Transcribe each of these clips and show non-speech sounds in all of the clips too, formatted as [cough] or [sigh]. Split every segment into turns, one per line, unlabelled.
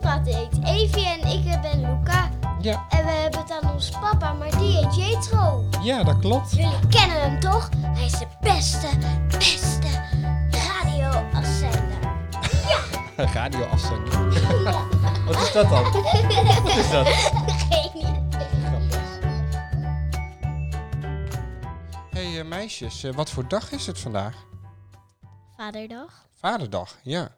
gaat eet. Evie en ik ben Luca.
Ja,
En we hebben het aan ons papa, maar die heet Jetro.
ja, dat klopt.
Jullie kennen hem toch? Hij is de beste, beste radioafzender.
[laughs] Radio afzender. Wat is dat dan? Wat is dat?
[laughs] Geen idee.
Hé hey, eh, meisjes, eh, wat voor dag is het vandaag?
Vaderdag.
Vaderdag, ja.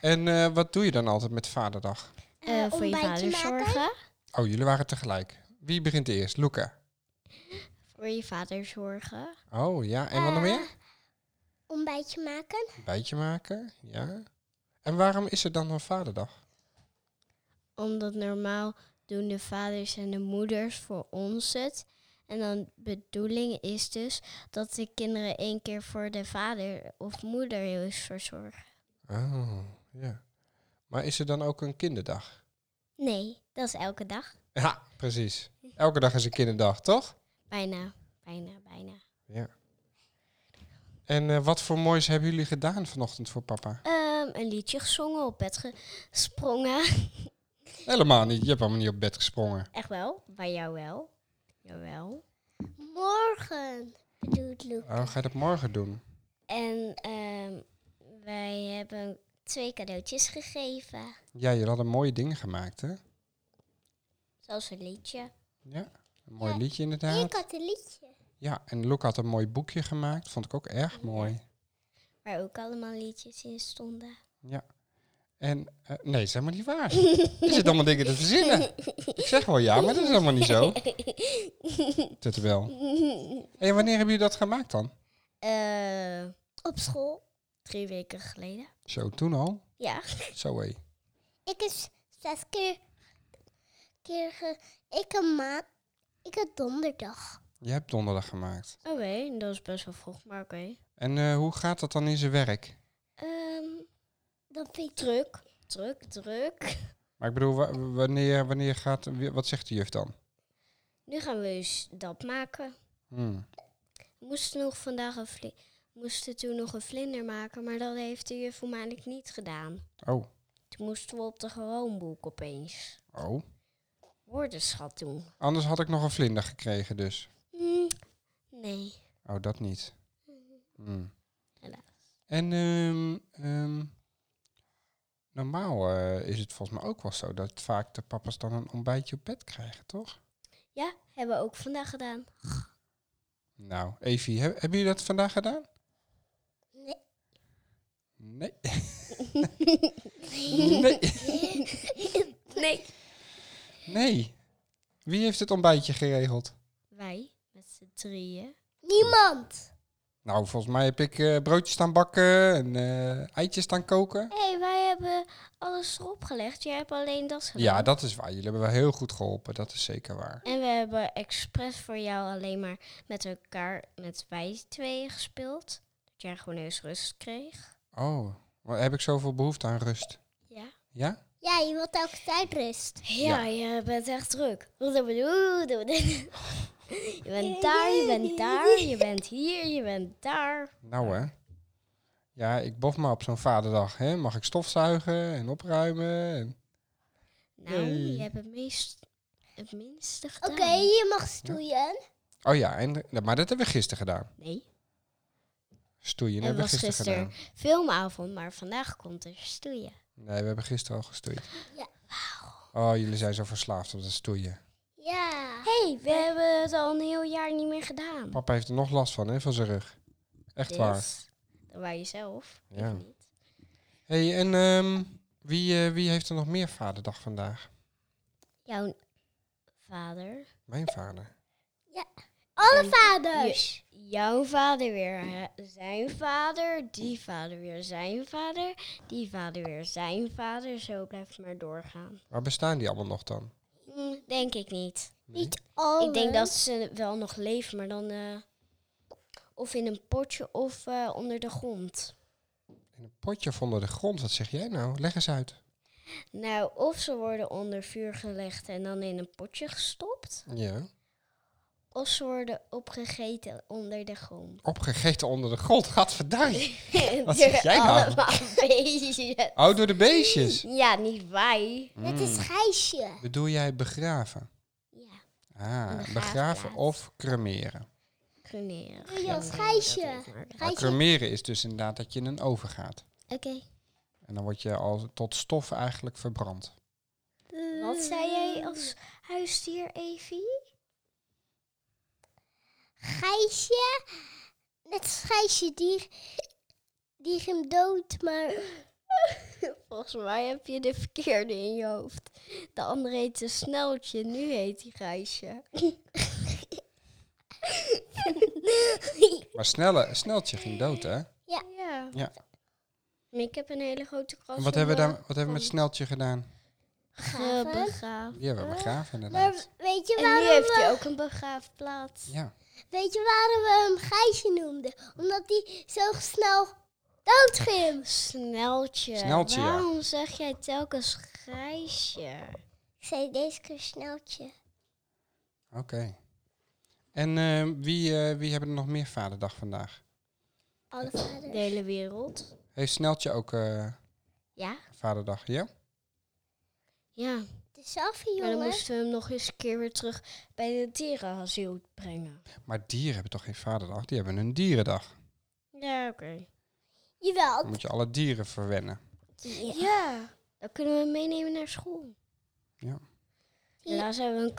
En eh, wat doe je dan altijd met vaderdag?
Eh, voor je vader zorgen.
Oh, jullie waren tegelijk. Wie begint eerst? Luca.
Voor je vader zorgen.
Oh ja, en wat nog meer?
Ontbijtje maken.
Bijtje maken, ja. En waarom is het dan een vaderdag?
Omdat normaal doen de vaders en de moeders voor ons het. En dan bedoeling is dus dat de kinderen één keer voor de vader of moeder heel eens verzorgen.
Oh, ja. Maar is er dan ook een kinderdag?
Nee, dat is elke dag.
Ja, precies. Elke dag is een kinderdag, toch?
Bijna, bijna, bijna.
Ja. En eh, wat voor moois hebben jullie gedaan vanochtend voor papa?
Ehm, een liedje gezongen, op bed gesprongen.
Helemaal niet. Je hebt helemaal niet op bed gesprongen.
Echt wel? Bij jou wel? Jawel.
Morgen, bedoelt Luca.
Oh, ga je dat morgen doen?
En ehm, wij hebben twee cadeautjes gegeven.
Ja, jullie hadden mooie dingen gemaakt, hè?
Zoals een liedje.
Ja. Een mooi
Ja.
liedje inderdaad.
had een liedje.
Ja, en Luca had een mooi boekje gemaakt. Vond ik ook erg mooi.
Waar ook allemaal liedjes in stonden.
Ja. En, eh, nee, dat is helemaal niet waar. Je zit allemaal dingen te verzinnen. Ik zeg wel ja, maar dat is helemaal niet zo. Dit wel. En wanneer hebben jullie dat gemaakt dan?
Eh,
Op school.
drie weken geleden.
Zo, toen al?
Ja.
Zo, hé.
Ik is zes keer, keer ge, ik een maand, ik een donderdag.
Je hebt donderdag gemaakt.
Oké, dat is best wel vroeg, maar oké.
En eh, hoe gaat dat dan in zijn werk?
Ehm,
Dan vind ik
druk, druk, druk.
Maar ik bedoel, wa- wanneer, wanneer gaat... Wat zegt de juf dan?
Nu gaan we eens dat maken.
Hmm.
We moesten, nog vandaag een vli- we moesten toen nog een vlinder maken, maar dat heeft de juf voormalig niet gedaan.
Oh,
Toen moesten we op de gewoonboek opeens
oh.
woordenschat doen.
Anders had ik nog een vlinder gekregen dus.
Hmm.
Mm, nee.
Oh, dat niet. Hmm.
Helaas.
En ehm, ehm, normaal eh, is het volgens mij ook wel zo dat vaak de papa's dan een ontbijtje op bed krijgen, toch?
Ja, hebben we ook
[laughs]
vandaag gedaan. [laughs]
Nou, Evie, he- hebben jullie dat vandaag gedaan?
Nee.
Nee. [laughs] nee.
Nee.
Nee. Wie heeft het ontbijtje geregeld?
Wij, met z'n drieën.
niemand.
Nou, volgens mij heb ik eh, broodjes staan bakken en eh, eitjes staan koken.
Hé, hey, wij hebben alles erop gelegd. Jij hebt alleen dat gedaan.
Ja, dat is waar. Jullie hebben wel heel goed geholpen. Dat is zeker waar.
En we hebben expres voor jou alleen maar met elkaar, met wij tweeën gespeeld. Dat jij gewoon eens rust kreeg.
Oh, maar heb ik zoveel behoefte aan rust?
Ja.
Ja?
Ja, je wilt elke tijd rust.
Ja, je bent echt druk. Je [laughs] bent daar, je bent daar, je bent hier, je bent daar.
Nou hè. Ja, ik bof me op zo'n vaderdag. Hè? Mag ik stofzuigen en opruimen? En...
Nou,
Nee.
je hebt het, meest, het minste
Oké,
gedaan.
je mag stoeien.
Oh ja, en, maar dat hebben we gisteren gedaan.
Nee.
Stoeien
En
hebben we
was
gisteren
gisteren.
gedaan.
Filmavond, maar vandaag komt er stoeien.
Nee, we hebben gisteren al gestoeid.
Ja.
Oh, jullie zijn zo verslaafd op dat stoeien.
Ja.
Hé, hey, we hebben het al een heel jaar niet meer gedaan.
Papa heeft er nog last van, hè, van zijn rug. Echt waar.
Dus, dan Oh, waar jezelf.
Ja.
Ja. Niet.
hey, en ehm, wie, eh, wie heeft er nog meer vaderdag vandaag?
Jouw vader.
Mijn vader.
Alle
En
vaders.
je- jouw vader weer hè, zijn vader. Die vader weer zijn vader. Die vader weer zijn vader. Zo blijft het maar doorgaan.
Waar bestaan die allemaal nog dan?
Hm, denk ik niet.
Niet alle.
Ik denk dat ze wel nog leven, maar dan... eh, of in een potje of eh, onder de grond.
In een potje of onder de grond, wat zeg jij nou? Leg eens uit.
Nou, of ze worden onder vuur gelegd en dan in een potje gestopt.
Ja.
Of ze worden opgegeten onder de
[laughs]
grond.
Opgegeten onder de grond. [laughs] Gadverdamme. Wat
Door
zeg jij nou?
allemaal [laughs] beestjes.
Oh, door de
[laughs]
beestjes.
Ja, niet wij.
Met
Hmm.
een schijsje.
Bedoel jij begraven?
Ja,
Ah,
Begraafplaats.
begraven of cremeren.
cremeren.
Doe je als
Cremeren, dat
gijsje.
weet ik maar.
Maar
Schijsje.
cremeren is dus inderdaad dat je in een oven gaat.
Oké.
En dan word je al tot stof eigenlijk verbrand.
Wat zei jij als [laughs] huisdier, Evie?
Gijsje. Net als Gijsje die, die ging dood, maar
Volgens mij heb je de verkeerde in je hoofd. De andere heette Sneltje, nu heet hij Gijsje.
Maar snelle, sneltje ging dood, hè?
[laughs] Ja.
Ja.
Maar ik heb een hele grote kras. eh,
En wat hebben we, dan, wat hebben we met sneltje gedaan?
Begraven.
Begraven.
Die hebben we begraven,
Maar
inderdaad.
weet je
En
waarom
nu heeft
we-
hij ook een begraafplaats.
Ja.
Weet je waarom we hem Gijsje noemden? Omdat hij zo snel dood ging.
Sneltje.
Sneltje, ja.
Waarom zeg jij telkens Gijsje?
Ik zei deze keer sneltje.
Oké. En eh, wie, eh, wie hebben er nog meer vaderdag vandaag?
Alle
De
vaders.
hele wereld.
Heeft Sneltje ook eh,
Ja.
vaderdag, ja?
Ja.
De selfie,
Maar dan
jongen.
moesten we hem nog eens een keer weer terug bij de dierenasiel brengen.
Maar dieren hebben toch geen vaderdag? Die hebben een dierendag.
Ja, oké.
Jawel.
Dan moet je alle dieren verwennen.
Ja.
Dan kunnen we hem meenemen naar school.
Ja.
Ja.
Helaas hebben we een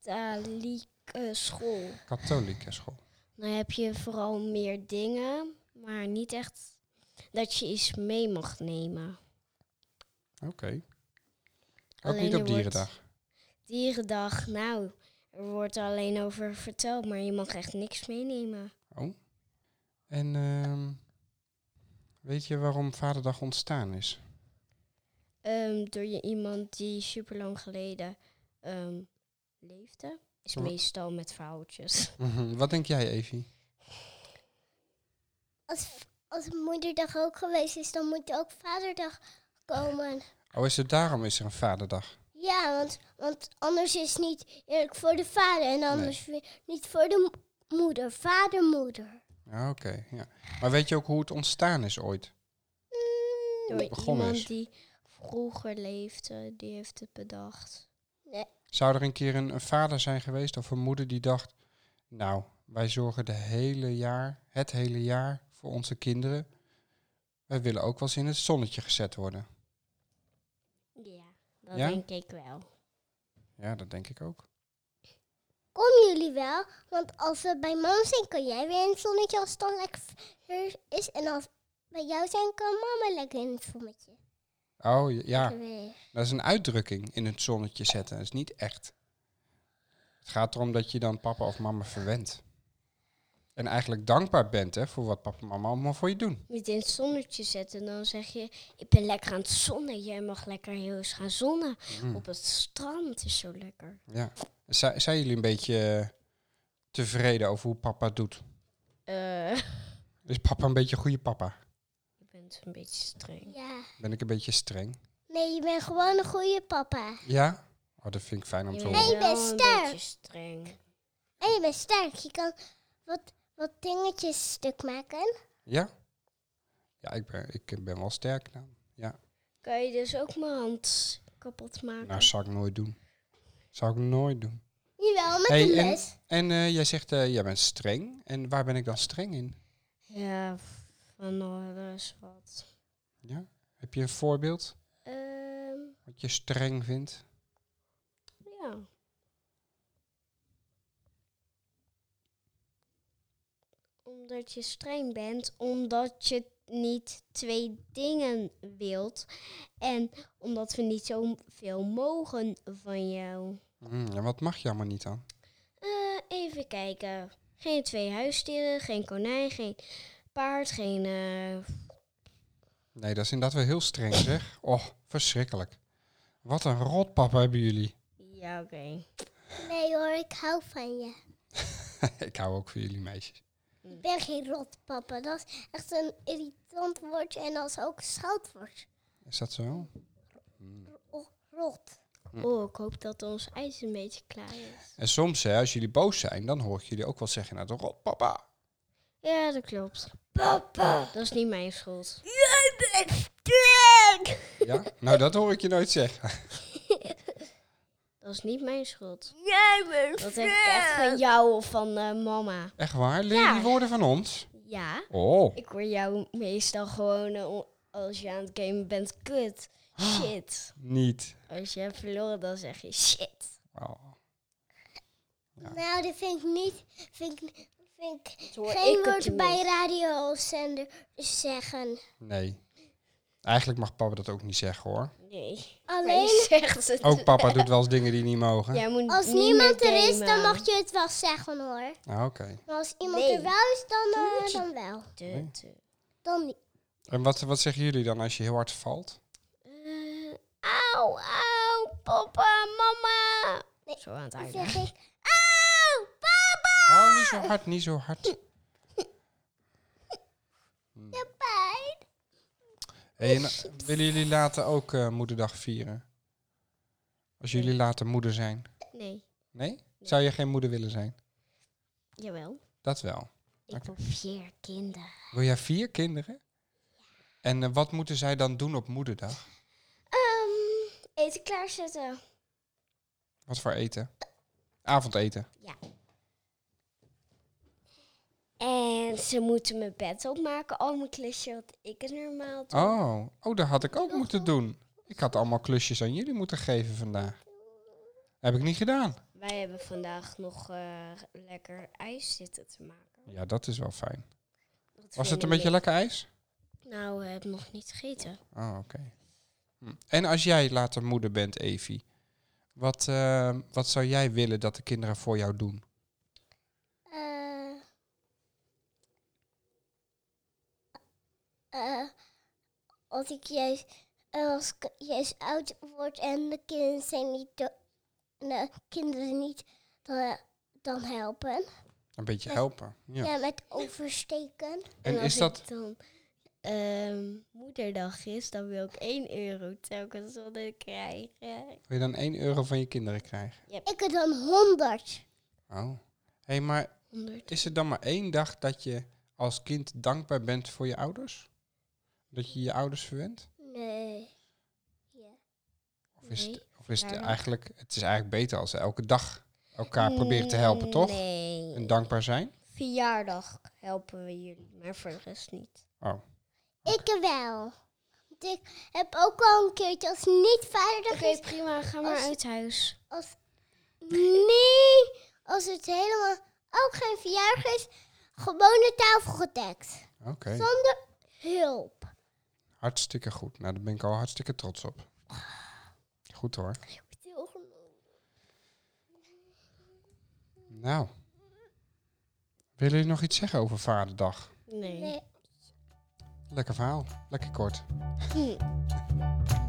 katholieke school.
Katholieke school.
Dan heb je vooral meer dingen, maar niet echt dat je iets mee mag nemen.
Oké. Ook
Alleen
niet
er
op
wordt-
dierendag.
Dierendag, nou, er wordt alleen over verteld, maar je mag echt niks meenemen.
Oh. En ehm, weet je waarom vaderdag ontstaan is? [laughs]
Ehm, door je iemand die super lang geleden ehm, leefde, is
Wa-
meestal met verhaaltjes.
Mhm. Wat denk jij, Evie?
Als, als moederdag ook geweest is, dan moet ook vaderdag komen.
Oh, is het daarom is er een vaderdag?
Ja, want, want anders is het niet eerlijk voor de vader. En anders weer niet voor de mo- moeder. Vader, moeder.
Ah, Oké, ja. Maar weet je ook hoe het ontstaan is ooit?
Hmm.
Door
begonnen
iemand
is.
die vroeger leefde, die heeft het bedacht.
Zou er een keer een, een vader zijn geweest of een moeder die dacht... Nou, wij zorgen de hele jaar, het hele jaar voor onze kinderen. Wij willen ook wel eens in het zonnetje gezet worden.
Ja, dat
Ja?
denk ik wel.
Ja, dat denk ik ook.
Komen jullie wel? Want als we bij mam zijn, kan jij weer in het zonnetje als het dan lekker weer is. En als we bij jou zijn, kan mama lekker in het zonnetje.
Oh, j- ja.
weer.
Dat is een uitdrukking, in het zonnetje zetten. Dat is niet echt. Het gaat erom dat je dan papa of mama verwendt. En eigenlijk dankbaar bent hè, voor wat papa en mama allemaal voor je doen.
Niet in het zonnetje zetten, dan zeg je: Ik ben lekker aan het zonnen. Jij mag lekker heel eens gaan zonnen.
Mm,
Op het strand is zo lekker.
ja. Zijn, zijn jullie een beetje eh, tevreden over hoe papa het doet?
Eh,
Is papa een beetje een goede papa?
je bent een beetje streng.
Ja.
Ben ik een beetje streng?
Nee, je bent gewoon een goede papa.
Ja? Oh, dat vind ik fijn om
Je
te
bent
horen.
Nee, ik ben
wel een
sterk.
beetje streng.
En je bent sterk. Je kan wat, wat dingetjes stuk maken.
Ja? Ja, ik ben, ik ben wel sterk. Nou,
Kan je dus ook mijn hand kapot maken?
nou zou ik nooit doen. Zou ik nooit doen.
Jawel, met
Hey,
een
en-
mes.
En eh, jij zegt, eh, jij bent streng. En waar ben ik dan streng in?
Ja, van alles wat.
Ja? Heb je een voorbeeld
Ehm,
wat je streng vindt?
ja. Omdat je streng bent, omdat je niet twee dingen wilt en omdat we niet zo veel mogen van jou.
Hmm, en wat mag je allemaal niet dan?
Eh, even kijken. Geen twee huisdieren, geen konijn, geen paard, geen... eh,
Nee, dat is inderdaad wel heel streng zeg. Och, verschrikkelijk. Wat een rotpapa hebben jullie. [laughs]
Ja, oké.
Nee hoor, ik hou van je.
ik hou ook van jullie meisjes.
Ik ben geen rotpapa. Dat is echt een irritant woordje en dat is ook een scheldwoord.
Is dat zo? Hmm.
Oh, rot.
Oh, ik hoop dat ons ijs een beetje klaar is.
En soms, hè, als jullie boos zijn, dan hoor ik jullie ook wel zeggen, nou toch op, papa.
Ja, dat klopt. Dat is niet mijn schuld.
Jij bent sterk!
Ja? nou, dat hoor ik je nooit zeggen. [laughs]
Dat is niet mijn schuld.
Jij bent
Dat heb ik echt van jou of van eh, mama.
Echt waar? Leer je die woorden van ons?
Ja,
Oh.
ik hoor jou meestal gewoon eh, o- als je aan het gamen bent. Kut. Shit.
Niet.
Als je hebt verloren, dan zeg je shit.
Oh.
Nou, dat vind ik niet. Vind ik, vind ik
hoor ik
geen
het
woord bij
tenminste.
radiozender zeggen.
Nee. Eigenlijk mag papa dat ook niet zeggen hoor.
Nee. Maar
Alleen
je zegt het.
Ook
[laughs]
papa doet wel eens dingen die niet mogen.
Jij moet
als
niet
niemand
meer
er is, dan
gamen.
mag je het wel zeggen hoor.
Ah, Oké.
Maar als iemand
Nee.
er wel is, dan, eh,
Moet je-
dan wel.
De- de-
Dan niet.
En wat, wat zeggen jullie dan als je heel hard valt?
Eh, auw, auw, papa, mama.
Nee,
Zo aan het
Dan
einde.
zeg ik, auw, papa,
Oh, niet zo hard, niet zo hard.
je pijn.
Hey, en, eh, willen jullie later ook eh, moederdag vieren? Als jullie later moeder zijn.
Nee,
Nee? Zou je geen moeder willen zijn?
jawel.
Dat wel.
Ik heb vier kinderen.
Wil jij vier kinderen? En eh, wat moeten zij dan doen op moederdag?
Ehm, eten klaarzetten.
Wat voor eten? Avondeten.
En ze moeten mijn bed opmaken. Al mijn klusje wat ik normaal doe.
Oh, oh, dat had ik ook moeten doen. Ik had allemaal klusjes aan jullie moeten geven vandaag. Heb ik niet gedaan.
Wij hebben vandaag nog eh, lekker ijs zitten te maken.
Ja, dat is wel fijn.
Dat
Was
vind
het een
ik
beetje
leuk.
lekker ijs?
Nou, we hebben nog niet gegeten.
Oh, oké. Hm. En als jij later moeder bent, Evie, wat, eh, wat zou jij willen dat de kinderen voor jou doen?
Eh. Eh, als ik juist, eh, als ik juist oud word en de kinderen zijn niet, do- de kinderen niet, dan, eh, dan helpen.
Een beetje
Met-
helpen. Ja.
Ja. met oversteken.
En
als
is
ik
dat...
dan ehm, moederdag is, dan wil ik 1 euro telkens wat ik krijg.
Wil je dan 1 euro van je kinderen krijgen?
Ik er dan honderd.
Oh. Hé, hey, maar
100.
is er dan maar één dag dat je als kind dankbaar bent voor je ouders? Dat je je ouders verwendt?
Nee. Ja.
Of is,
Nee,
het, of is het
waarom?
eigenlijk... Het is eigenlijk beter als ze elke dag elkaar proberen te helpen, toch?
Nee.
En dankbaar zijn?
Verjaardag helpen we jullie, maar voor de rest niet.
Oh.
Ik wel. Want ik heb ook al een keertje als niet vaderdag
Oké,
is,
prima. Ga maar
Als-
uit huis.
als nee, als het helemaal ook geen verjaardag is, gewone tafelgedekt.
Oké.
Zonder hulp.
Hartstikke goed. Nou, daar ben ik al hartstikke trots op. Goed hoor. Nou. Willen jullie nog iets zeggen over Vaderdag?
Nee.
Nee.
Lekker verhaal. Lekker kort.
Hm.